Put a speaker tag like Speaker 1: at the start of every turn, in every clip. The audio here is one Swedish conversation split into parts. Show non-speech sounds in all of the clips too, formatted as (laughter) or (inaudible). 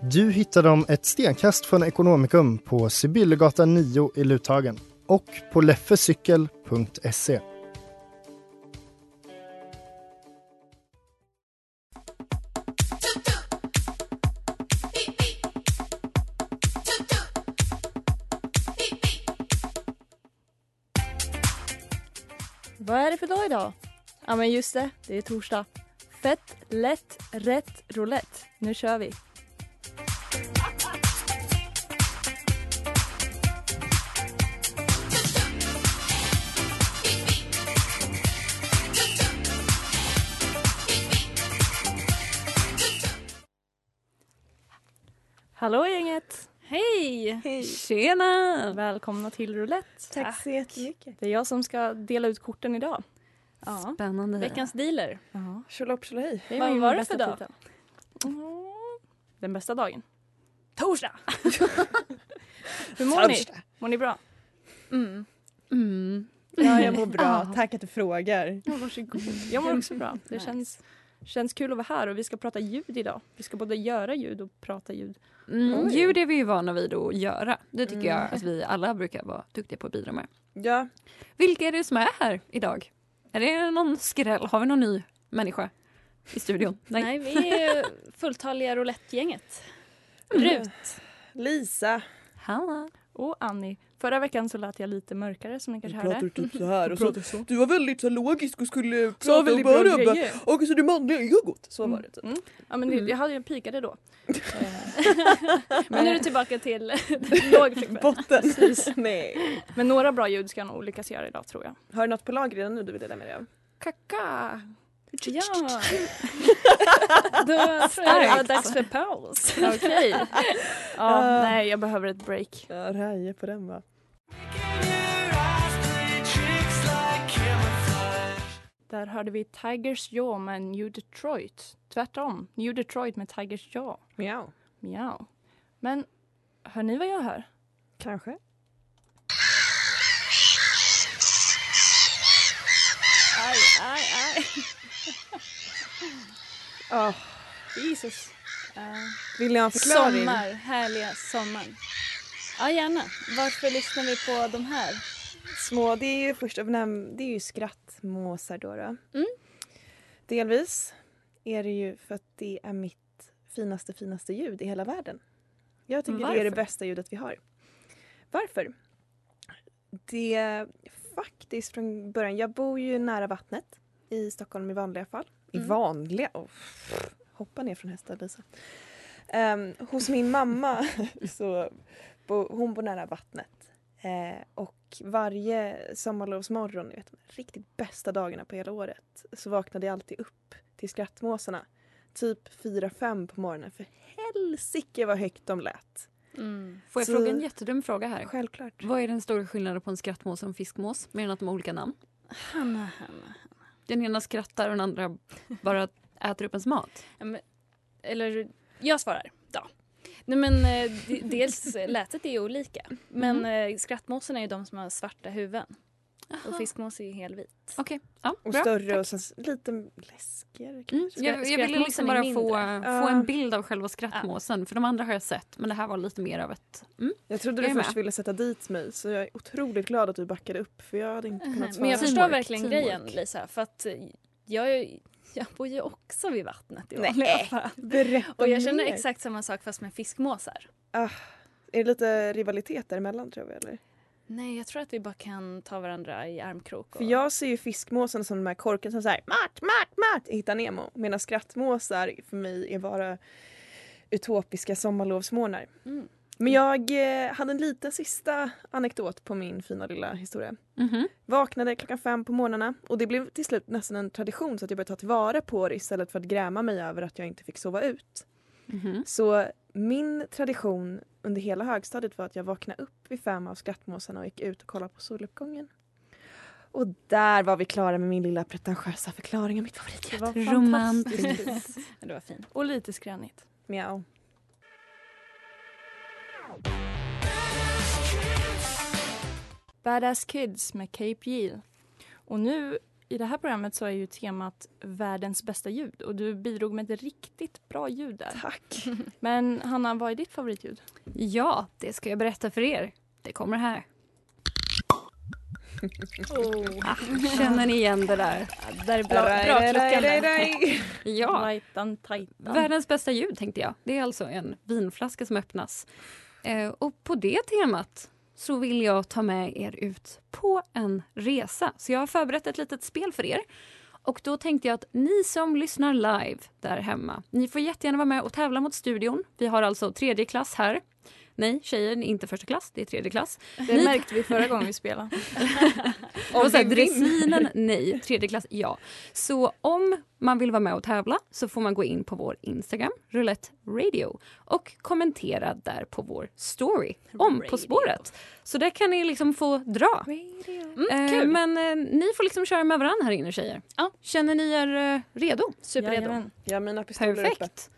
Speaker 1: Du hittar dem ett stenkast från Ekonomikum på Sibyllegatan 9 i Luthagen och på leffecykel.se.
Speaker 2: Vad är det för dag idag? Ja men just det, det är torsdag. Fett, lätt, rätt, roulette. Nu kör vi. Hallå gänget!
Speaker 3: Hej!
Speaker 2: Tjena! Välkomna till roulette.
Speaker 3: Tack så jättemycket.
Speaker 2: Det är jag som ska dela ut korten idag.
Speaker 3: Spännande.
Speaker 2: Veckans dealer.
Speaker 4: Tjolahopp tjolahej.
Speaker 2: Det
Speaker 3: Vad
Speaker 2: min
Speaker 3: var det
Speaker 2: bästa
Speaker 3: för dag?
Speaker 2: titel. Den bästa dagen. Torsdag!
Speaker 3: (laughs)
Speaker 2: Hur mår ni? Mår ni bra?
Speaker 3: Mm. Mm.
Speaker 5: Ja, jag mår bra. Tack att du frågar.
Speaker 2: Ja, varsågod. Jag mår också
Speaker 3: (laughs)
Speaker 2: bra. Det känns, känns kul att vara här och vi ska prata ljud idag. Vi ska både göra ljud och prata ljud.
Speaker 3: Mm.
Speaker 2: Oj.
Speaker 3: Ljud är vi ju vana vid att göra. Det tycker
Speaker 5: Mm.
Speaker 3: jag att vi alla brukar vara duktiga på att bidra med.
Speaker 5: Ja,
Speaker 3: Vilka är det som är här idag? Är det någon skräll? Har vi någon ny människa i studion? Nej.
Speaker 2: vi är fulltaliga roulettgänget.
Speaker 5: Rut. Lisa.
Speaker 3: Ha.
Speaker 2: Och Annie. Förra veckan så lät jag lite mörkare som ni kanske hörde.
Speaker 5: typ så här
Speaker 2: Pratar så.
Speaker 5: du var väldigt så här logisk och skulle
Speaker 2: Sa väldigt bra grejer.
Speaker 5: och så det manliga egot. Så typ.
Speaker 2: Mm. Mm. Ja, men det, jag hade ju pikade
Speaker 3: (laughs)
Speaker 2: då.
Speaker 6: Men nu är du tillbaka till
Speaker 2: (laughs)
Speaker 6: låg frekvens.
Speaker 5: Botten. Nej.
Speaker 2: Men några bra ljud ska jag nog lyckas göra idag tror jag.
Speaker 5: Har du något på lager redan nu du vill dela med dig av?
Speaker 2: Kaka!
Speaker 6: Ja.
Speaker 3: (laughs)
Speaker 6: Då är det alla dags för paus.
Speaker 2: Okej. Ja,
Speaker 5: Ah.
Speaker 2: nej, jag behöver ett break.
Speaker 5: Ja, raja på den va.
Speaker 2: Där hörde vi Tigers Jaw med New Detroit. Tvärtom, New Detroit med Tigers Jaw.
Speaker 5: Miau.
Speaker 2: Miau. Men hör ni vad jag hör?
Speaker 5: Kanske.
Speaker 6: Aj, aj,
Speaker 4: (laughs)
Speaker 6: aj.
Speaker 5: Oh,
Speaker 6: Jesus. Eh,
Speaker 5: vill jag ha en förklaring?
Speaker 6: sommar, härliga sommaren. Ja, gärna. Varför lyssnar vi på de här?
Speaker 5: Små, det är ju först av namn, det är ju skrattmåsar då. då.
Speaker 6: Mm.
Speaker 5: Delvis är det ju för att det är mitt finaste, finaste ljud i hela världen. Jag tycker det är det
Speaker 3: Varför?
Speaker 5: bästa ljudet vi har. Varför? Det är faktiskt från början, jag bor ju nära vattnet i Stockholm i vanliga fall. I vanliga? Oh, hoppa ner från hästar Lisa. Ehm, hos min mamma (laughs) så bo, hon bor nära vattnet. Eh, och varje sommarlovsmorgon, ni vet, de riktigt bästa dagarna på hela året, så vaknade jag alltid upp till skrattmåsarna. Typ 4-5 på morgonen, för helsike vad högt de lät.
Speaker 3: Får jag
Speaker 5: Så-
Speaker 3: fråga en jättedum fråga här?
Speaker 5: Självklart.
Speaker 3: Vad är den stora skillnaden på en skrattmås och en fiskmås? Mer än att de har olika namn.
Speaker 6: Hanna, Hanna.
Speaker 3: Den ena skrattar och den andra bara äter upp ens mat.
Speaker 6: Eller, jag svarar. Ja. Nej, men, eh, d- dels eh, lätet är ju olika. Men eh, skrattmåsen är ju de som har svarta huvuden. Och fiskmås är ju helvit.
Speaker 3: Okej, ja,
Speaker 5: Och
Speaker 3: bra.
Speaker 5: större
Speaker 3: tack.
Speaker 5: och sen s- lite läskigare kanske.
Speaker 3: Mm, jag, jag ville
Speaker 6: skrattmåsen
Speaker 3: liksom
Speaker 6: är
Speaker 3: bara
Speaker 6: mindre.
Speaker 3: få,
Speaker 5: Ja.
Speaker 3: få en bild av själva skrattmåsen. För de andra har jag sett, men det här var lite mer av ett... Mm.
Speaker 5: Jag trodde
Speaker 3: Jag
Speaker 5: du
Speaker 3: är med.
Speaker 5: först ville sätta dit mig så jag är otroligt glad att du backade upp för jag hade inte kunnat svara.
Speaker 6: Äh, Men jag
Speaker 3: Teamwork,
Speaker 6: förstår verkligen
Speaker 3: teamwork.
Speaker 6: grejen, Lisa. För att eh, jag, är- jag bor ju också vid vattnet i vanliga fall.
Speaker 5: Berätta
Speaker 6: Och jag känner
Speaker 5: mer.
Speaker 6: exakt samma sak fast med fiskmåsar.
Speaker 5: Ah, Är det lite rivalitet däremellan tror jag? Eller?
Speaker 6: Nej, jag tror att vi bara kan ta varandra i armkrok. Och...
Speaker 5: För jag ser ju fiskmåsen som de här korken som säger Mart, Mart, Mart! i Hitta Nemo. Medan skrattmåsar för mig är bara utopiska sommarlovsmånar.
Speaker 6: Mm.
Speaker 5: Men jag eh, hade en liten sista anekdot på min fina lilla historia.
Speaker 3: Mhm.
Speaker 5: Vaknade klockan fem på morgnarna och det blev till slut nästan en tradition så att jag började ta tillvara på det istället för att gräma mig över att jag inte fick sova ut.
Speaker 3: Mhm.
Speaker 5: Så min tradition under hela högstadiet var att jag vaknade upp vid fem av skrattmåsarna och gick ut och kollade på soluppgången. Och där var vi klara med min lilla pretentiösa förklaring av mitt favoritljud.
Speaker 3: Romantiskt.
Speaker 6: Ja, Det var fint. Och lite skränigt.
Speaker 5: (laughs) Miau.
Speaker 2: Badass Kids med Cape Yield. Och nu i det här programmet så är ju temat världens bästa ljud och du bidrog med ett riktigt bra ljud där.
Speaker 5: Tack.
Speaker 2: (laughs) Men Hanna, vad är ditt favoritljud?
Speaker 3: Ja, det ska jag berätta för er. Det kommer här.
Speaker 2: Oh.
Speaker 3: Ah, känner ni igen det där?
Speaker 2: Där är
Speaker 3: Ja,
Speaker 2: Tajtan, tajtan.
Speaker 3: världens bästa ljud tänkte jag. Det är alltså en vinflaska som öppnas. Eh, och på det temat så vill jag ta med er ut på en resa. Så jag har förberett ett litet spel för er. Och då tänkte jag att ni som lyssnar live där hemma, ni får jättegärna vara med och tävla mot studion. Vi har alltså tredje klass här. Nej, tjejer, det är inte första klass, det är tredje klass.
Speaker 2: Det märkte vi förra gången vi spelade.
Speaker 3: Och så här, dressinen, nej. Tredje klass, ja. Så om man vill vara med och tävla så får man gå in på vår Instagram, Roulette Radio och kommentera där på vår story om På
Speaker 6: Radio.
Speaker 3: spåret. Så där kan ni liksom få dra.
Speaker 2: Mm.
Speaker 3: Eh,
Speaker 6: Mm, kul.
Speaker 3: men eh, ni får liksom köra med varandra här inne, tjejer.
Speaker 6: Ja.
Speaker 3: Känner ni er eh, redo?
Speaker 6: Superredo.
Speaker 2: Jajamän.
Speaker 5: Jag har mina pistoler uppe.
Speaker 3: Perfekt.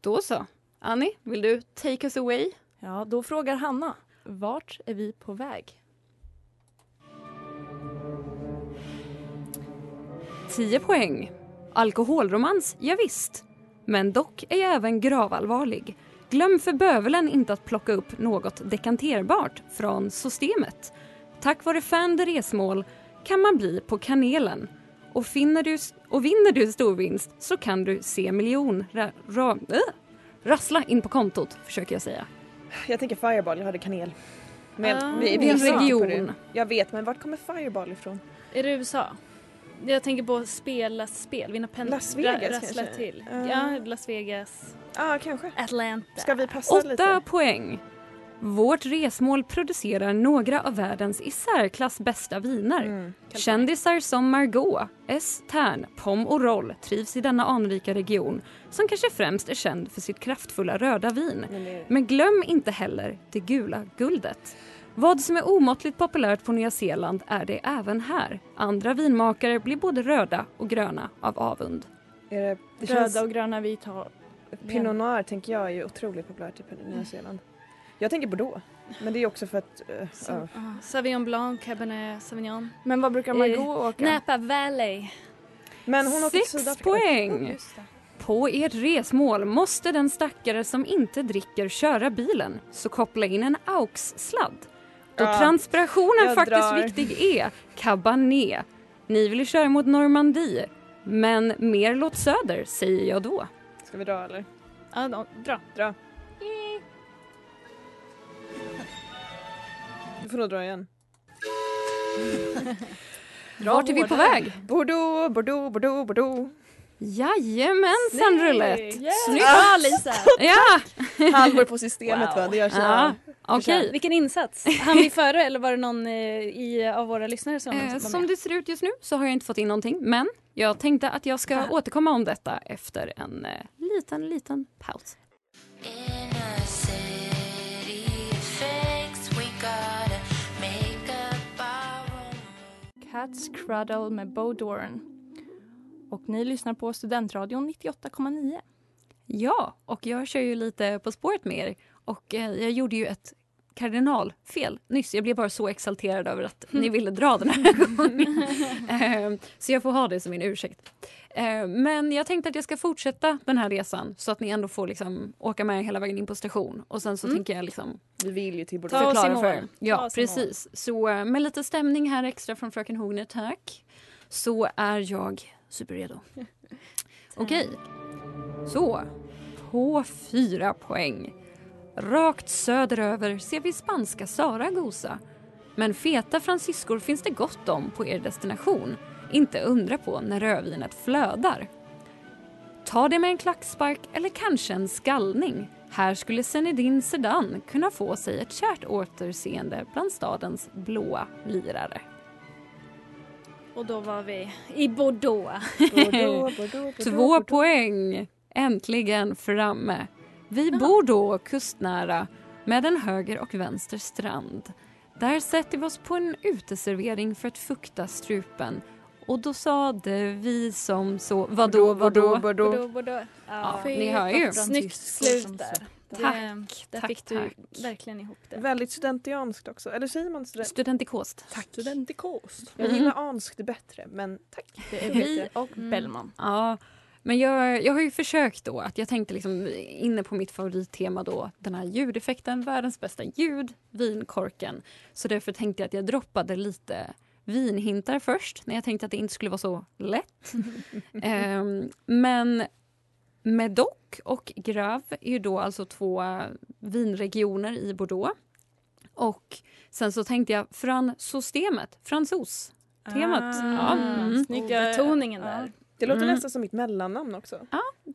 Speaker 3: Då så. Annie, vill du take us away?
Speaker 2: Ja, då frågar Hanna. Vart är vi på väg?
Speaker 3: 10 poäng. Alkoholromans, ja visst. Men dock är jag även gravallvarlig. Glöm för bövelen inte att plocka upp något dekanterbart från systemet. Tack vare Fan de resmål kan man bli på kanelen. Och, finner du, och vinner du storvinst så kan du se miljon ra, ra, äh, rassla in på kontot, försöker jag säga.
Speaker 5: Jag tänker Fireball, jag hade kanel. Men
Speaker 6: Ah,
Speaker 5: vi,
Speaker 3: Det är en
Speaker 5: vi-
Speaker 3: region.
Speaker 5: Jag vet, men vart kommer Fireball ifrån?
Speaker 6: Är det USA? Jag tänker på spela spel, vinna pengar.
Speaker 5: Las Vegas
Speaker 6: Rassla
Speaker 5: kanske?
Speaker 6: till.
Speaker 5: Eh.
Speaker 6: Ja, Las Vegas.
Speaker 5: Ja, ah, kanske.
Speaker 6: Atlanta.
Speaker 5: Ska vi passa
Speaker 3: Åtta
Speaker 5: lite?
Speaker 3: poäng. Vårt resmål producerar några av världens i särklass bästa viner.
Speaker 5: Mm.
Speaker 3: Kändisar som Margot, S. Tern, Pom och Roll trivs i denna anrika region som kanske främst är känd för sitt kraftfulla röda vin.
Speaker 5: Men det-
Speaker 3: Men glöm inte heller det gula guldet. Vad som är omåttligt populärt på Nya Zeeland är det även här. Andra vinmakare blir både röda och gröna av avund.
Speaker 5: Är det, det känns,
Speaker 2: Röda och gröna vi tar.
Speaker 5: Pinot Noir tänker jag är ju otroligt populärt i Nya Zeeland. Jag tänker Bordeaux. Men det är också för att... eh,
Speaker 6: Sa-
Speaker 5: ja.
Speaker 6: ah, Sauvignon Blanc, Cabernet Sauvignon.
Speaker 2: Men vad brukar man
Speaker 6: Eh,
Speaker 2: gå och åka?
Speaker 6: Napa Valley.
Speaker 5: Men hon åker till
Speaker 3: Sex
Speaker 5: Sydafrika.
Speaker 3: poäng!
Speaker 2: Just det.
Speaker 3: På ert resmål måste den stackare som inte dricker köra bilen, så koppla in en AUX-sladd. Då
Speaker 5: Ja,
Speaker 3: transpirationen
Speaker 5: jag
Speaker 3: faktiskt
Speaker 5: drar.
Speaker 3: viktig är cabané. Ni vill ju köra mot Normandie, men mer låt söder säger jag då.
Speaker 5: Ska vi dra eller?
Speaker 6: Ja, då- bra.
Speaker 5: Dra. Du får nog
Speaker 2: (laughs)
Speaker 5: dra igen.
Speaker 3: Vart är vi på väg?
Speaker 5: Bordeaux, Bordeaux, Bordeaux, Bordeaux.
Speaker 3: Jajamensan Roulette!
Speaker 6: Yeah.
Speaker 3: Snyggt!
Speaker 6: Bra Lisa!
Speaker 3: Ja,
Speaker 5: Halvor på systemet va? Det gör så
Speaker 3: ja.
Speaker 5: här.
Speaker 3: okej.
Speaker 6: Vilken
Speaker 2: (laughs)
Speaker 6: insats! Han vi före eller var det någon eh, i, av våra lyssnare som,
Speaker 3: Eh,
Speaker 6: var
Speaker 3: som
Speaker 6: med?
Speaker 3: det ser ut just nu så har jag inte fått in någonting, men jag tänkte att jag ska återkomma om detta efter en eh, liten, liten paus.
Speaker 2: Cats Cradle med Bo Doran. Och ni lyssnar på Studentradion 98,9.
Speaker 3: Ja, och jag kör ju lite På spåret med er. Och eh, jag gjorde ju ett kardinalfel nyss. Jag blev bara så exalterad över att ni ville dra den (laughs) här gången. Eh, så jag får ha det som min ursäkt. Eh, men jag tänkte att jag ska fortsätta den här resan så att ni ändå får liksom åka med hela vägen in på station. Och sen så tänker jag liksom
Speaker 5: Vi vill ju
Speaker 2: (laughs)
Speaker 5: till Bordeaux.
Speaker 6: Ta oss i
Speaker 3: förklara
Speaker 6: mål.
Speaker 3: för er.
Speaker 6: Ta
Speaker 3: Ja,
Speaker 6: oss i mål.
Speaker 3: precis. Så eh, med lite stämning här extra från Fröken Hogner, tack. Så är jag superredo. Okej. Så, på fyra poäng. Rakt söderöver ser vi spanska Saragosa. Men feta fransyskor finns det gott om på er destination. Inte undra på när rödvinet flödar. Ta det med en klackspark eller kanske en skallning. Här skulle Zenedine Sedan kunna få sig ett kärt återseende bland stadens blåa lirare.
Speaker 6: Och då var vi i Bordeaux.
Speaker 5: Bordeaux, Bordeaux,
Speaker 3: Två poäng! Äntligen framme. Vi bor då kustnära med en höger och vänster strand. Där sätter vi oss på en uteservering för att fukta strupen. Och då sade vi som så... Vadå, vadå?
Speaker 6: Bordeaux, Bordeaux.
Speaker 3: Ja,
Speaker 6: Fy
Speaker 3: ni hör ju.
Speaker 6: Snyggt slut där.
Speaker 3: Tack,
Speaker 6: Där
Speaker 3: tack,
Speaker 6: fick du
Speaker 3: tack.
Speaker 6: verkligen ihop det.
Speaker 5: Väldigt studentianskt också. Eller säger man student?
Speaker 3: Studentikost.
Speaker 5: Tack. Studentikost.
Speaker 3: Mm-hmm.
Speaker 5: Jag gillar
Speaker 2: Mm.
Speaker 5: anskt bättre, men tack.
Speaker 2: Det är vi och
Speaker 6: Mm.
Speaker 2: Bellman.
Speaker 3: Ja, men jag, jag har ju försökt då. att Jag tänkte liksom inne på mitt favorittema då, den här ljudeffekten, världens bästa ljud, vinkorken. Så därför tänkte jag att jag droppade lite vinhintar först när jag tänkte att det inte skulle vara så
Speaker 5: (laughs)
Speaker 3: lätt. Ehm, men Medoc och Grave är ju då alltså två vinregioner i Bordeaux. Och sen så tänkte jag Fran-systemet, fransos.
Speaker 5: Ah,
Speaker 3: Temat. Ja, mm.
Speaker 6: Och betoningen där.
Speaker 5: Det låter
Speaker 3: Mm.
Speaker 5: nästan som mitt mellannamn också.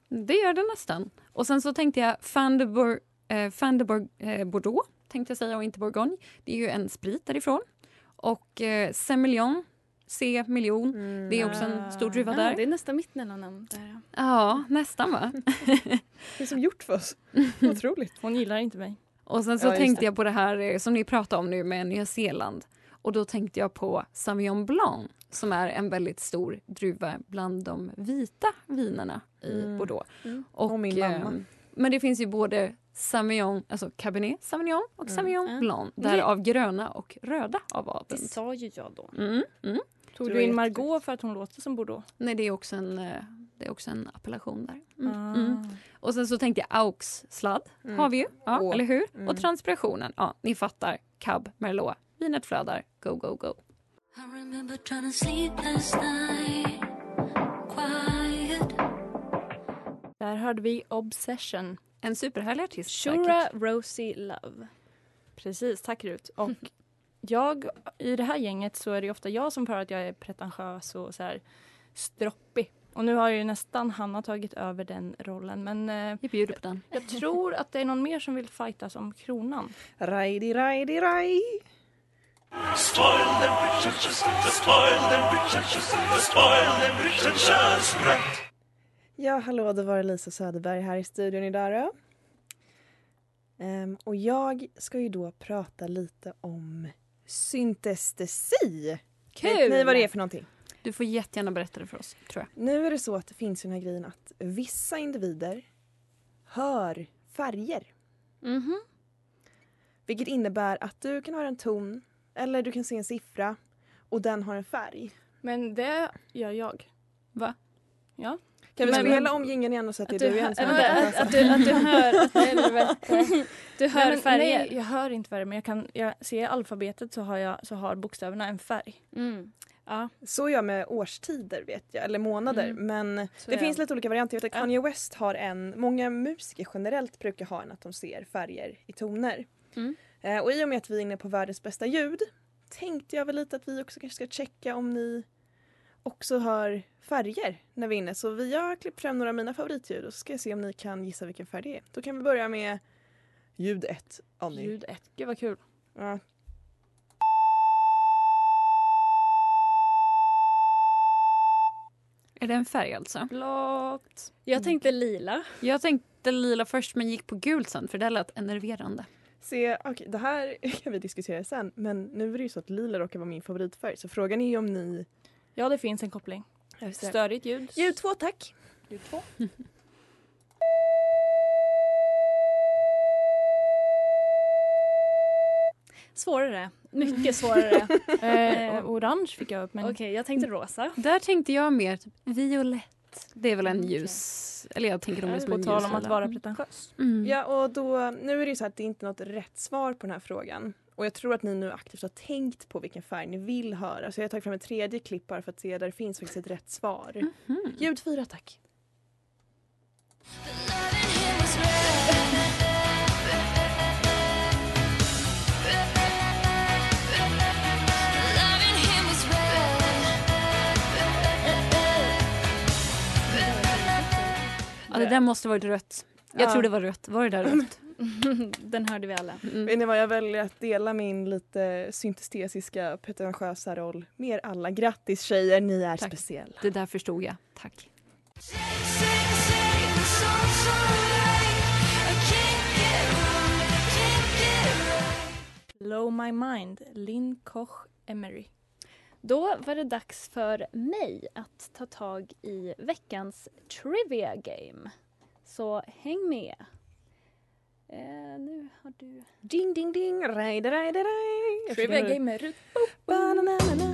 Speaker 3: Det gör det nästan. Och sen så tänkte jag Fandeborg, eh, Fandeborg eh, Bordeaux, tänkte jag säga, och inte Bourgogne. Det är ju en sprit därifrån. Och eh, Semillon, C miljon, det är också en stor druva
Speaker 6: Ah,
Speaker 3: där.
Speaker 6: det är nästan mitt mellannamn. Där. ja.
Speaker 3: Ja, nästan va?
Speaker 5: Det är som gjort för
Speaker 2: (laughs)
Speaker 5: oss. Otroligt.
Speaker 2: Hon gillar inte mig.
Speaker 3: Och sen så
Speaker 5: Ja, just
Speaker 3: tänkte
Speaker 5: det.
Speaker 3: jag på det här eh, som ni pratar om nu med Nya Zeeland. Och då tänkte jag på Sauvignon Blanc som är en väldigt stor druva bland de vita vinerna i
Speaker 5: Mm.
Speaker 3: Bordeaux.
Speaker 5: Mm.
Speaker 3: Och,
Speaker 5: Och min mamma.
Speaker 3: ehm, men det finns ju både Sauvignon, alltså Cabernet Sauvignon och
Speaker 5: Mm.
Speaker 3: Sauvignon
Speaker 6: Ja.
Speaker 3: Blanc. Därav gröna och röda av
Speaker 6: Det
Speaker 3: adeln.
Speaker 6: sa ju jag då.
Speaker 3: Mm, mm.
Speaker 2: Tog
Speaker 5: Du
Speaker 2: du,
Speaker 5: är
Speaker 2: in
Speaker 5: jätteduktig.
Speaker 2: Margot för att hon låter som Bordeaux?
Speaker 3: Nej, det är också en, eh, det är också en appellation där. Mm.
Speaker 2: Ah.
Speaker 3: Mm. Och sen så tänkte jag aux sladd
Speaker 5: Mm.
Speaker 3: har vi ju, ja,
Speaker 5: Åh.
Speaker 3: eller hur?
Speaker 5: Mm.
Speaker 3: Och transpirationen, ja, ni fattar. Cab, Merlot, vinet flödar, go, go, go.
Speaker 7: I remember trying to sleep last night. Quiet.
Speaker 2: Där hörde vi Obsession.
Speaker 3: En superhärlig artist
Speaker 6: Shura Rosie Love.
Speaker 2: Precis, tack Rut. Och jag, i det här gänget så är det ju ofta jag som för att jag är pretentiös och så här stroppig. Och nu har ju nästan Hanna tagit över den rollen men eh,
Speaker 3: Jag bjuder på den.
Speaker 2: jag tror att det är någon mer som vill fightas om kronan.
Speaker 5: Rajdi, rajdi, raj. Ja, hallå, det var Lisa Söderberg här i studion idag då. Ehm, och jag ska ju då prata lite om syntestesi. Vet ni vad det är för någonting?
Speaker 3: Du får jättegärna berätta det för oss, tror jag.
Speaker 5: Nu är det så att det finns ju den här grejen att vissa individer hör färger.
Speaker 6: Mhm.
Speaker 5: Vilket innebär att du kan höra en ton eller du kan se en siffra och den har en färg.
Speaker 2: Men det gör jag.
Speaker 3: Va?
Speaker 2: Ja.
Speaker 5: Kan vi
Speaker 2: Men-
Speaker 5: spela om jingeln igen och säga att det är du igen som
Speaker 6: hör-
Speaker 5: har
Speaker 6: äh,
Speaker 5: den?
Speaker 6: att, att, du, att du hör... Att
Speaker 2: (laughs)
Speaker 6: helvete. Du hör
Speaker 2: Nej, men,
Speaker 6: färger.
Speaker 2: Nej, jag hör inte färger men jag kan jag ser alfabetet så har, jag, så har bokstäverna en färg.
Speaker 6: Mm. Ja,
Speaker 5: Så gör jag med årstider vet jag, eller månader.
Speaker 6: Mm.
Speaker 5: Men
Speaker 6: så
Speaker 5: det
Speaker 6: är
Speaker 5: finns lite olika varianter. Jag vet att
Speaker 6: Ja.
Speaker 5: Kanye West har en, många musiker generellt brukar ha en att de ser färger i toner.
Speaker 6: Mm.
Speaker 5: Eh, och i och med att vi är inne på världens bästa ljud tänkte jag väl lite att vi också kanske ska checka om ni också hör färger när vi är inne. Så vi har klippt fram några av mina favoritljud och så ska jag se om ni kan gissa vilken färg det är. Då kan vi börja med ljud 1. Annie.
Speaker 2: Ljud ett. Gud vad kul.
Speaker 5: Ja.
Speaker 3: Är det en färg alltså?
Speaker 2: Blått.
Speaker 6: Jag tänkte lila.
Speaker 3: Jag tänkte lila först men gick på gult sen för det lät enerverande.
Speaker 5: Se, okej, det här (laughs) kan vi diskutera sen men nu är det ju så att lila råkar vara min favoritfärg så frågan är ju om ni...
Speaker 2: Ja det finns en koppling. Störigt ljud.
Speaker 5: Ljud två tack! Ljud två.
Speaker 6: Svårare. Mycket svårare.
Speaker 2: Mm. (laughs) Eh, orange fick jag upp men
Speaker 6: Okej, jag tänkte rosa.
Speaker 3: Där tänkte jag mer typ violett. Det är väl en
Speaker 6: Mm,
Speaker 3: ljus... Eller jag tänker nog mest
Speaker 2: på
Speaker 3: en
Speaker 2: tal
Speaker 3: ljus
Speaker 2: om att
Speaker 3: lila.
Speaker 2: vara pretentiös.
Speaker 3: Mm.
Speaker 5: Ja och då, nu är det ju så att det är inte något rätt svar på den här frågan. Och jag tror att ni nu aktivt har tänkt på vilken färg ni vill höra. Så jag har tagit fram ett tredje klipp bara för att se där det finns faktiskt ett rätt svar.
Speaker 3: Mhm.
Speaker 5: Ljud fyra tack.
Speaker 7: Loving him was red.
Speaker 3: där måste varit rött. Jag
Speaker 5: Ja.
Speaker 3: tror det var rött. Var det där rött?
Speaker 2: (laughs)
Speaker 3: Mm,
Speaker 6: Den hörde vi alla.
Speaker 5: Vet ni vad, jag väljer att dela min lite syntestesiska pretentiösa roll med er alla. Grattis tjejer, ni är
Speaker 3: Tack.
Speaker 5: speciella.
Speaker 3: Det där förstod jag. Tack.
Speaker 2: Blow My Mind, Linn Koch Emery.
Speaker 6: Då var det dags för mig att ta tag i veckans Trivia Game. Så häng med. Eh, nu har du...
Speaker 5: Ding ding ding, raj da, raj da, raj. Jag
Speaker 6: Trivia
Speaker 5: försöker nu-
Speaker 6: Game med Rut.
Speaker 5: Ba-na-na-na-na.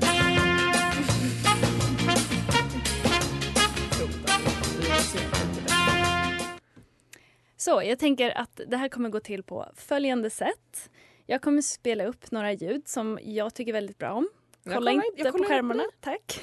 Speaker 6: Så jag tänker att det här kommer gå till på följande sätt. Jag kommer spela upp några ljud som jag tycker väldigt bra om.
Speaker 5: Jag
Speaker 6: Kolla
Speaker 5: kollar- jag
Speaker 6: inte på
Speaker 5: kollar
Speaker 6: skärmarna, tack.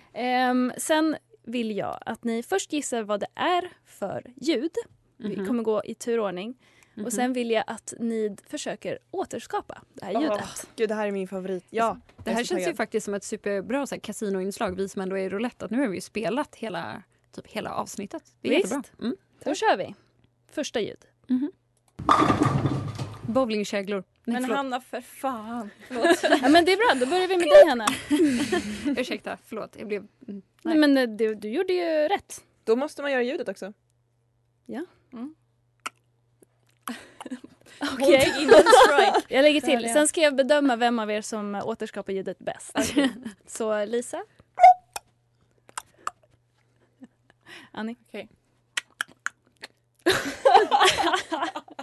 Speaker 6: (laughs) Ehm, sen vill jag att ni först gissar vad det är för ljud. Vi
Speaker 5: Mhm.
Speaker 6: kommer gå i turordning. Och sen vill jag att ni försöker återskapa det här ljudet.
Speaker 5: Åh, Gud, det här är min favorit. Ja,
Speaker 3: Det
Speaker 5: jag är
Speaker 3: här
Speaker 5: så
Speaker 3: känns ju
Speaker 5: taggad.
Speaker 3: faktiskt som ett superbra så här, kasinoinslag, vi som ändå är i roulette. Att nu har vi ju spelat hela, typ, hela avsnittet. Det är
Speaker 6: Visst.
Speaker 3: jättebra. Mm.
Speaker 6: Då kör vi. Första ljud.
Speaker 5: (laughs)
Speaker 3: Bowlingkäglor. Nej,
Speaker 2: Men
Speaker 3: förlåt.
Speaker 2: Hanna, för fan!
Speaker 6: Ja, men det är bra, då börjar vi med dig Hanna.
Speaker 3: (laughs) Ursäkta, förlåt. Jag blev... mm,
Speaker 6: Nej, men eh, du, du gjorde ju rätt.
Speaker 5: Då måste man göra ljudet också.
Speaker 6: Okej.
Speaker 3: (laughs)
Speaker 2: strike.
Speaker 6: Jag lägger
Speaker 2: Så
Speaker 6: till.
Speaker 2: hörde jag.
Speaker 6: Sen ska jag bedöma vem av er som eh, återskapar ljudet bäst. (laughs) Så Lisa. Annie.
Speaker 2: Okej.
Speaker 6: (laughs)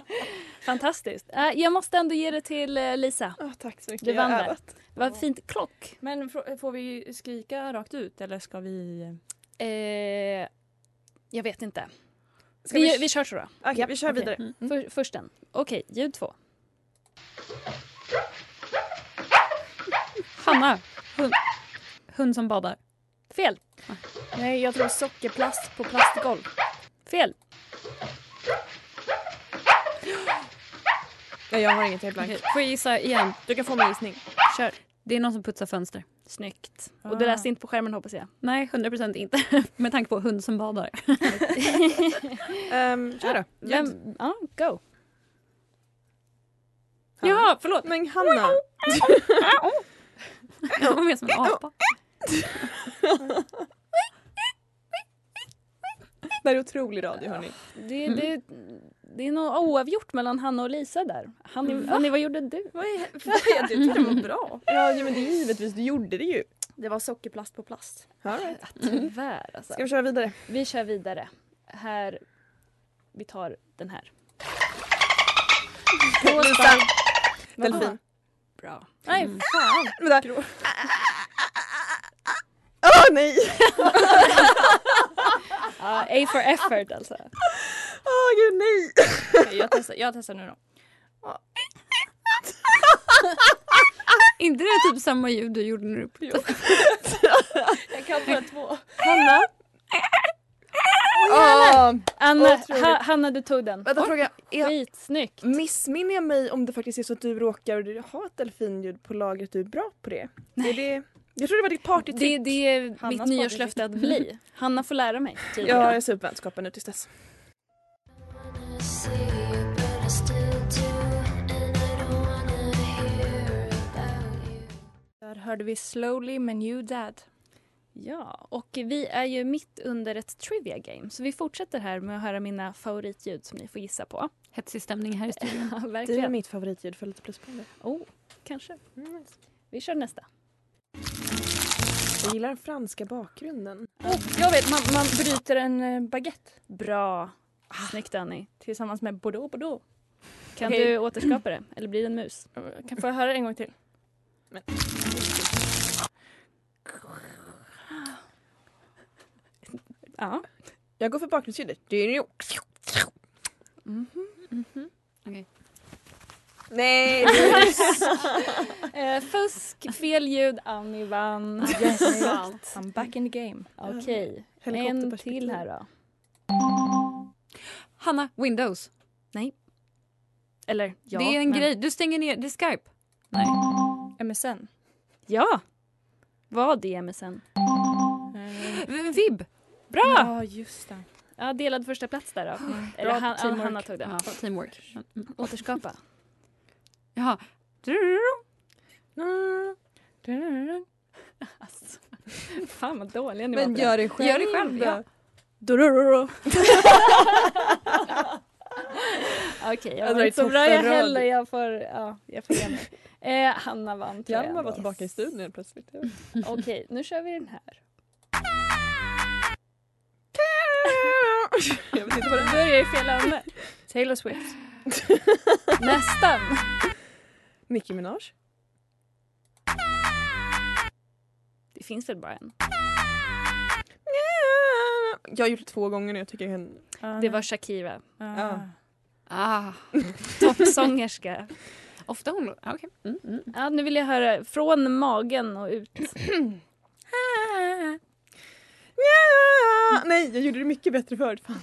Speaker 6: Fantastiskt. Eh, Jag måste ändå ge det till eh, Lisa.
Speaker 5: Ah, tack så mycket.
Speaker 6: Du
Speaker 5: Jag har
Speaker 6: vann där.
Speaker 5: övat.
Speaker 6: Vad fint. Klock.
Speaker 2: Men frå- får vi skrika rakt ut eller ska vi...
Speaker 6: Eh, jag vet inte.
Speaker 5: Ska
Speaker 6: Vi,
Speaker 5: vi,
Speaker 6: vi kör så då.
Speaker 5: Okej, vi kör
Speaker 6: okej.
Speaker 5: vidare.
Speaker 6: För, först den. Okej, ljud två.
Speaker 3: Hanna! Hund. Hund som badar.
Speaker 6: Fel.
Speaker 2: Nej, jag tror sockerplast på plastgolv.
Speaker 6: Fel.
Speaker 5: (gasps) Nej, jag har inget, jag är blank.
Speaker 3: Får jag gissa igen?
Speaker 5: Du kan få min gissning.
Speaker 6: Kör.
Speaker 3: Det är någon som putsar fönster.
Speaker 6: Snyggt. Och
Speaker 5: Ah.
Speaker 6: du läste inte på skärmen hoppas jag.
Speaker 3: Nej, 100 procent inte. (laughs) Med tanke på hund som badar.
Speaker 5: Um, kör då.
Speaker 6: Vem? Ja, go.
Speaker 3: Ja, förlåt.
Speaker 5: Men Hanna,
Speaker 3: Jag var mer som en apa.
Speaker 5: det här är otrolig radio hörni.
Speaker 6: Det, det, det är något oavgjort mellan Hanna och Lisa där. Hanni, Hanni vad gjorde du?
Speaker 2: Vad är vad är det? Jag tyckte den var bra.
Speaker 5: Ja, ja, men det är givetvis, du gjorde det ju.
Speaker 2: Det var sockerplast på plast.
Speaker 5: All right.
Speaker 6: Tyvärr alltså.
Speaker 5: Ska vi köra vidare?
Speaker 6: Vi kör vidare. Här. Vi tar den här.
Speaker 5: Lisa, delfin.
Speaker 6: Bra. Nej,
Speaker 5: Fan. Vänta. Åh nej!
Speaker 6: ja, Ah, A for effort alltså.
Speaker 5: Åh gud nej!
Speaker 2: Okej, jag, testar, jag testar nu då.
Speaker 3: inte det är typ samma ljud du gjorde när du (laughs) puttade?
Speaker 2: Jag kan bara två.
Speaker 5: Hanna. Åh,
Speaker 6: Ah, Anna,
Speaker 5: Otroligt.
Speaker 6: ha, Ah, Hanna du tog den.
Speaker 5: vänta fråga. Är,
Speaker 6: Skitsnyggt.
Speaker 5: missminner jag mig om det faktiskt är så att du råkar ha ett delfinljud på lagret du är bra på det? Nej. Är det jag tror det var ditt partytrick.
Speaker 6: Det, det är
Speaker 2: Hannas
Speaker 6: mitt nyårslöfte att bli. Hanna får lära mig. tydligen.
Speaker 5: Ja, jag ser upp vänskapen nu tills dess.
Speaker 2: Där hörde vi Slowly med New Dad.
Speaker 6: Ja, och vi är ju mitt under ett trivia game så vi fortsätter här med att höra mina favoritljud som ni får gissa på. (laughs)
Speaker 3: Hetsig stämning här i studion.
Speaker 6: Ja,
Speaker 5: Det är
Speaker 6: verkligen.
Speaker 5: mitt favoritljud för lite pluspoäng där.
Speaker 6: Oh, kanske.
Speaker 5: Mm,
Speaker 6: Vi kör nästa.
Speaker 5: Jag gillar den franska bakgrunden.
Speaker 6: Oh,
Speaker 2: jag vet, man, man bryter en eh, baguette
Speaker 6: Bra. Ah. Snyggt Annie.
Speaker 2: tillsammans med bordeaux bordeaux.
Speaker 6: Kan
Speaker 2: Okej.
Speaker 6: du återskapa det? Eller blir det en mus?
Speaker 2: Kan få höra en gång till?
Speaker 6: Ja.
Speaker 5: Jag går för bakgrundsljudet. Det är ju-
Speaker 3: Okej.
Speaker 5: Nej!
Speaker 8: (laughs)
Speaker 6: Eh, fusk, fel ljud. Annie vann.
Speaker 2: Yes. I'm back in the game.
Speaker 6: Okej, en
Speaker 5: Helikopterperspektiv.
Speaker 6: till här då.
Speaker 3: Hanna, Windows.
Speaker 6: Eller ja.
Speaker 3: det är en
Speaker 6: men-
Speaker 3: grej. Du stänger ner. Det är Skype. Nej.
Speaker 2: MSN.
Speaker 6: Ja. Vad är MSN?
Speaker 2: Eh,
Speaker 3: V- Vib.
Speaker 6: Bra!
Speaker 2: Ja, just det.
Speaker 8: Ja, delad första plats där då. Eller
Speaker 2: Bra
Speaker 8: han, ja,
Speaker 2: teamwork.
Speaker 8: Hanna tog det.
Speaker 3: Ja, teamwork.
Speaker 8: Återskapa.
Speaker 3: Jaha.
Speaker 8: Alltså, (laughs) fan vad dåliga ni
Speaker 3: Men
Speaker 8: var på
Speaker 3: gör
Speaker 8: det.
Speaker 3: det själv Gör det själv, då. ja.
Speaker 8: Dorororo. Okej, jag
Speaker 3: Jag
Speaker 8: var
Speaker 3: drar
Speaker 8: inte så
Speaker 3: i
Speaker 8: bra jag
Speaker 3: toppen
Speaker 8: heller.
Speaker 3: rad.
Speaker 8: Jag får, ja, jag får ge mig. Eh, Hanna vann tror jag
Speaker 5: Hjalmar var
Speaker 8: ändå.
Speaker 5: tillbaka i
Speaker 2: (laughs)
Speaker 5: studion helt plötsligt.
Speaker 8: Okej, nu kör vi den här.
Speaker 5: Jag vet inte vad
Speaker 8: Nu börjar jag i fel ände. Taylor Swift. Nästan.
Speaker 5: Nicki Minaj?
Speaker 8: Det finns väl bara en?
Speaker 5: Jag har gjort det två gånger nu. Jag tycker jag kan...
Speaker 8: Det var Shakira.
Speaker 5: Ja.
Speaker 3: Ah,
Speaker 8: Toppsångerska.
Speaker 3: ofta hon... ah, Okej. Mm, mm.
Speaker 8: Ja, nu vill jag höra från magen och ut.
Speaker 5: Nja! Nej, jag gjorde det mycket bättre förut. Fan.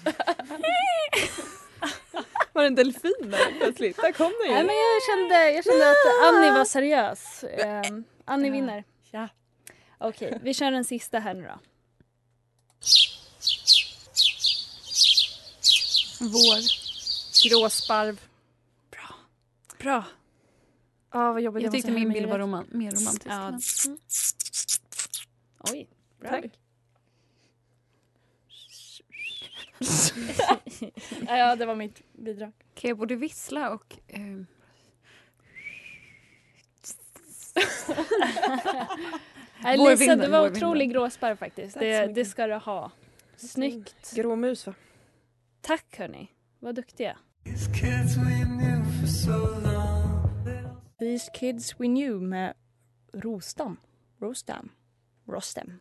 Speaker 5: Var det en delfin där plötsligt? Där kom den
Speaker 8: Nej,
Speaker 5: ju.
Speaker 8: men jag, kände, jag kände att Annie var seriös. Ehm, Annie vinner.
Speaker 5: Ja.
Speaker 8: Okej, vi kör den sista här nu då. Vår.
Speaker 2: Gråsparv.
Speaker 8: Bra.
Speaker 2: Ja, vad jobbigt
Speaker 3: Jag
Speaker 2: måste
Speaker 3: tyckte
Speaker 2: hem
Speaker 3: min
Speaker 2: med
Speaker 3: bild var
Speaker 2: grejer.
Speaker 3: roman mer romantisk.
Speaker 8: Ja.
Speaker 3: men-
Speaker 8: Oj. Bra.
Speaker 5: Tack.
Speaker 8: Ja, ja, det var mitt bidrag.
Speaker 3: Okej, jag borde vissla och...
Speaker 5: (laughs)
Speaker 3: ehm,
Speaker 8: Nej,
Speaker 3: Vår
Speaker 8: Lisa,
Speaker 3: vinner,
Speaker 8: det var
Speaker 3: vår
Speaker 8: otrolig
Speaker 3: vinner.
Speaker 8: gråsparv faktiskt.
Speaker 5: Tack så
Speaker 8: Det,
Speaker 5: mycket.
Speaker 8: det ska du ha. Snyggt.
Speaker 5: Gråmus va?
Speaker 8: Tack hörni. Vad duktiga.
Speaker 2: These Kids We Knew med Rostam. Rostam.
Speaker 8: (laughs)
Speaker 2: Rostam.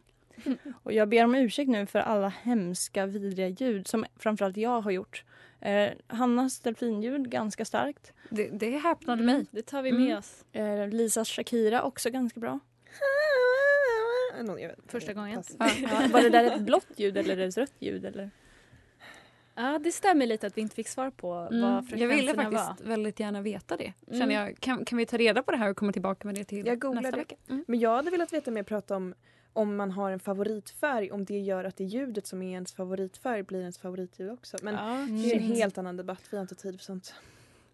Speaker 2: Och jag ber om ursäkt nu för alla hemska, vidriga ljud som framförallt jag har gjort. Eh, Hannas delfinljud, ganska starkt.
Speaker 3: Det, det häpnade mig.
Speaker 8: Det tar vi med
Speaker 3: Mm.
Speaker 8: oss.
Speaker 2: Eh, Lisas Shakira, också ganska bra.
Speaker 5: Någon, jag vet. inte.
Speaker 8: Första gången.
Speaker 5: Pass.
Speaker 3: Ja. Mm.
Speaker 2: Ja, var det där ett blått ljud eller ett rött ljud? Eller?
Speaker 8: Ja, det stämmer lite att vi inte fick svar på vad
Speaker 3: Mm. Jag
Speaker 8: frekvenserna
Speaker 3: ville faktiskt
Speaker 8: var.
Speaker 3: väldigt gärna veta det.
Speaker 8: Mm.
Speaker 3: Känner jag, kan, kan vi ta reda på det här och komma tillbaka med det till
Speaker 5: Jag googlar
Speaker 3: nästa
Speaker 5: det.
Speaker 3: vecka? Mm.
Speaker 5: Men jag hade velat veta mer prata om om man har en favoritfärg, om det gör att det ljudet som är ens favoritfärg blir ens favoritljud också. Men
Speaker 2: Mm.
Speaker 8: ja, Mm.
Speaker 5: det är en
Speaker 8: shit.
Speaker 5: helt annan debatt, vi har inte tid för sånt.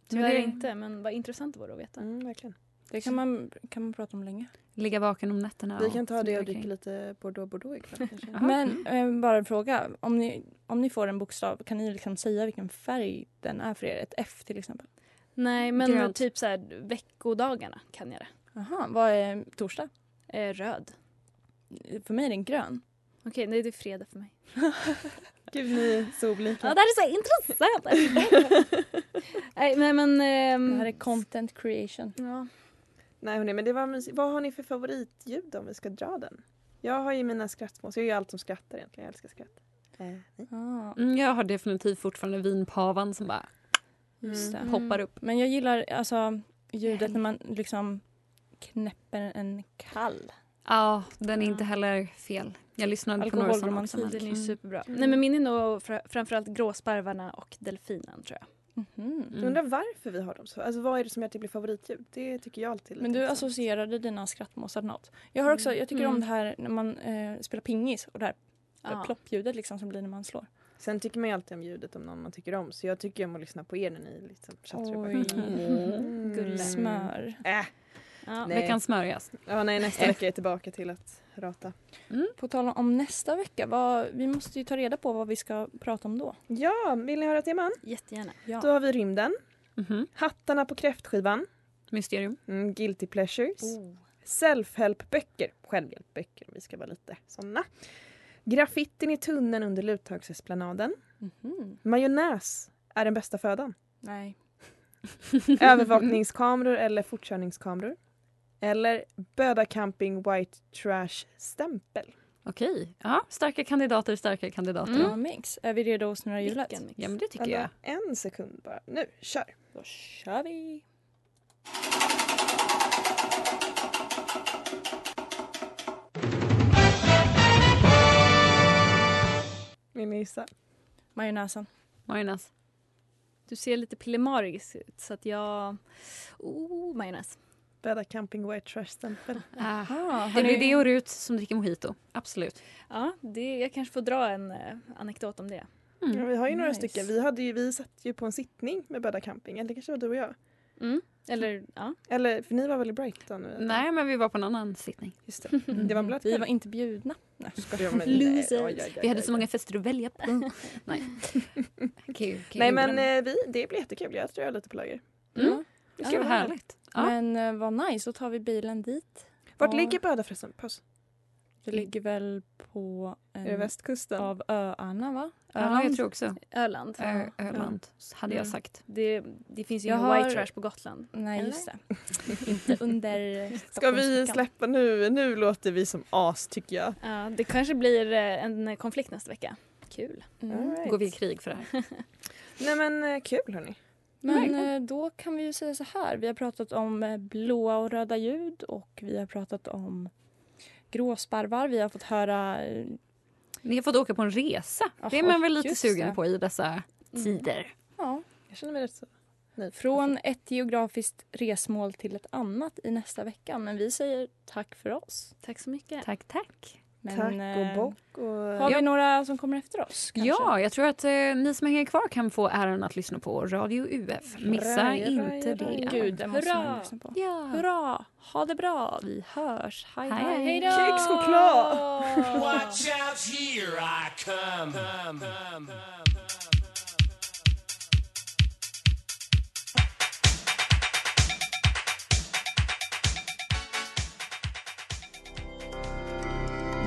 Speaker 8: Tyvärr
Speaker 3: det-
Speaker 8: inte, men vad intressant det vore att veta.
Speaker 5: Mm, verkligen.
Speaker 2: Det kan man, kan man prata om länge.
Speaker 3: Ligga vaken om nätterna.
Speaker 5: vi
Speaker 3: och
Speaker 5: kan ta det
Speaker 3: fundera
Speaker 5: och dricka
Speaker 3: kring.
Speaker 5: lite bordeaux bordeaux
Speaker 8: (laughs)
Speaker 5: ikväll kanske.
Speaker 3: Jaha.
Speaker 2: Men eh, bara en fråga. Om ni, om ni får en bokstav, kan ni liksom säga vilken färg den är för er? Ett F till exempel.
Speaker 8: Nej, men
Speaker 3: Grönt.
Speaker 8: typ så här veckodagarna kan jag det.
Speaker 2: Aha, vad är torsdag?
Speaker 8: Eh, röd.
Speaker 2: För mig är den grön.
Speaker 8: Okej, nej, det är fredag för mig.
Speaker 5: Gud ni är så
Speaker 8: Ja,
Speaker 5: olika.
Speaker 8: det här är så intressant! nej, nej, men... ehm,
Speaker 2: Det här är content creation.
Speaker 8: ja.
Speaker 5: Nej hörni, men det var mysigt. Vad har ni för favoritljud om vi ska dra den? Jag har ju mina skrattmås, jag gör ju allt som skrattar egentligen, jag älskar skratt. Eh, nej.
Speaker 2: Ah,
Speaker 3: Mm, jag har definitivt fortfarande vinpavan som
Speaker 8: Mm.
Speaker 3: bara
Speaker 2: just det.
Speaker 5: Mm.
Speaker 3: hoppar upp.
Speaker 2: Men jag gillar alltså ljudet när man liksom knäpper en kall.
Speaker 3: Ja, den är inte heller fel. Jag lyssnade på några sådana också.
Speaker 2: Alkoholromantik,
Speaker 3: men-
Speaker 8: Den är ju
Speaker 3: Mm.
Speaker 8: superbra. Nej, men min är nog fra- framförallt gråsparvarna och delfinen, tror jag.
Speaker 2: Mhm.
Speaker 3: Mm.
Speaker 5: Jag undrar varför vi har dem så. Alltså vad är det som gör att det blir favoritljud? Det tycker jag alltid är lite
Speaker 2: Men du
Speaker 5: intressant.
Speaker 2: associerade dina skrattmåsar till något. Jag, har också, jag tycker om
Speaker 3: Mm.
Speaker 2: det här när man eh, spelar pingis och det här
Speaker 8: Ja.
Speaker 2: ploppljudet liksom som blir när man slår.
Speaker 5: Sen tycker man ju alltid om ljudet om någon man tycker om så jag tycker om att lyssna på er när ni liksom tjattrar i
Speaker 2: Oj.
Speaker 5: bakgrunden. Mm.
Speaker 8: Gulle.
Speaker 2: Smör.
Speaker 8: Mm.
Speaker 5: Äh,
Speaker 8: Ja.
Speaker 5: Nej.
Speaker 3: Veckans smörjas.
Speaker 5: ja, nej, nästa vecka är jag tillbaka till att rata.
Speaker 2: På tal om nästa vecka, vad, vi måste ju ta reda på vad vi ska prata om då.
Speaker 5: Ja, vill ni höra teman?
Speaker 8: Jättegärna.
Speaker 5: Då har vi rymden,
Speaker 3: Mhm.
Speaker 5: hattarna på kräftskivan,
Speaker 3: Mysterium.
Speaker 5: mm, guilty pleasures,
Speaker 2: Mm. Oh.
Speaker 5: self-help-böcker, självhjälpböcker om vi ska vara lite såna. Graffitin i tunneln under Luthagsesplanaden.
Speaker 2: Mhm.
Speaker 5: Majonnäs är den
Speaker 2: (laughs)
Speaker 5: bästa födan.
Speaker 2: Nej.
Speaker 5: Övervakningskameror eller fortkörningskameror. Eller Böda Camping White Trash stämpel.
Speaker 3: Okej. Ja, starka kandidater, starka kandidater.
Speaker 2: Mm. mix. Är vi redo att snurra hjulet?
Speaker 8: Vilken mix.
Speaker 3: Ja, men det tycker
Speaker 5: Vänta,
Speaker 3: jag.
Speaker 5: En sekund bara. Nu, kör!
Speaker 2: Då kör vi.
Speaker 5: Vill ni gissa?
Speaker 2: Majonnäsen.
Speaker 3: Marinas.
Speaker 8: Du ser lite pillemarisk ut, så att jag... Oh, majonnäs.
Speaker 5: Böda Camping White Trash stämpel.
Speaker 3: Ah.
Speaker 2: Ah,
Speaker 3: Det blir det och Rut som dricker mojito. Absolut.
Speaker 8: Ja, det, jag kanske får dra en eh, anekdot om det.
Speaker 3: Mm.
Speaker 5: Ja, vi har ju några
Speaker 9: nice.
Speaker 5: stycken. Vi, hade ju, vi satt ju på en sittning med Bädda Camping. Eller det kanske var du och jag.
Speaker 9: Mm. Eller ja.
Speaker 5: Eller för ni var väl i Brighton? eller?
Speaker 3: Nej, men vi var på en annan sittning.
Speaker 5: Just det. det var en blöt
Speaker 2: Vi
Speaker 5: kväll.
Speaker 2: var inte bjudna. Nej,
Speaker 3: (laughs)
Speaker 5: Skojar jag med dig? Nej,
Speaker 3: Losers.
Speaker 5: oj, oj, oj,
Speaker 3: Vi hade
Speaker 5: oj,
Speaker 3: så
Speaker 5: oj.
Speaker 3: många fester att välja på. Nej. Kul, kul.
Speaker 5: Nej men eh, vi, det blir jättekul. Jag tror jag är lite på lager.
Speaker 3: Mm.
Speaker 5: Det
Speaker 3: Gud, vad
Speaker 5: vara här.
Speaker 3: härligt. Ja.
Speaker 2: Men eh, vad nice, då tar vi bilen dit.
Speaker 5: Vart
Speaker 2: Ja.
Speaker 5: ligger Böda förresten? Paus.
Speaker 2: Det ligger väl på
Speaker 5: Mm. Är
Speaker 3: Mm.
Speaker 5: det
Speaker 2: en
Speaker 5: västkusten?
Speaker 2: av öarna va?
Speaker 3: Ja, jag tror också.
Speaker 9: Öland.
Speaker 3: Ö- Öland, hade jag
Speaker 5: Mm.
Speaker 3: sagt.
Speaker 9: Det, det finns ju
Speaker 2: Jag
Speaker 9: ingen
Speaker 2: har-
Speaker 9: white trash på Gotland.
Speaker 2: Nej
Speaker 9: Eller?
Speaker 2: just det. inte under
Speaker 5: Ska vi
Speaker 2: Stockholmsveckan.
Speaker 5: släppa nu? Nu låter vi som as tycker jag.
Speaker 9: Ja, det kanske blir eh, en konflikt nästa vecka. Kul.
Speaker 2: Mm.
Speaker 5: All right.
Speaker 3: Går vi i krig för det här?
Speaker 5: Nej men eh, kul hörni.
Speaker 2: Men eh, då kan vi ju säga så här. Vi har pratat om eh, blåa och röda ljud och vi har pratat om gråsparvar. Vi har fått höra... eh,
Speaker 3: Ni har fått åka på en resa. det är
Speaker 2: Jaha,
Speaker 3: man väl lite
Speaker 2: just
Speaker 3: sugen
Speaker 2: det.
Speaker 3: på i dessa tider.
Speaker 2: Ja,
Speaker 5: Jag känner mig rätt så nöjd.
Speaker 2: från ett geografiskt resmål till ett annat i nästa vecka. Men vi säger tack för oss.
Speaker 9: Tack så mycket.
Speaker 3: Tack, tack.
Speaker 2: Men,
Speaker 5: Tack och
Speaker 2: eh,
Speaker 5: bock och...
Speaker 2: Har vi några som kommer efter oss? kanske?
Speaker 3: Ja, jag tror att eh, ni som hänger kvar kan få äran att lyssna på Radio UF. Missa
Speaker 5: Raja,
Speaker 3: inte
Speaker 5: raja,
Speaker 3: det.
Speaker 5: raja.
Speaker 2: Gud, det måste
Speaker 9: Hurra!
Speaker 2: man lyssna på.
Speaker 3: Ja.
Speaker 2: Hurra! Ha det bra. Vi hörs. Hej,
Speaker 3: Hej,
Speaker 2: hej.
Speaker 3: hej.
Speaker 9: Hej då!
Speaker 5: Kexchoklad!
Speaker 10: Watch out, here I come.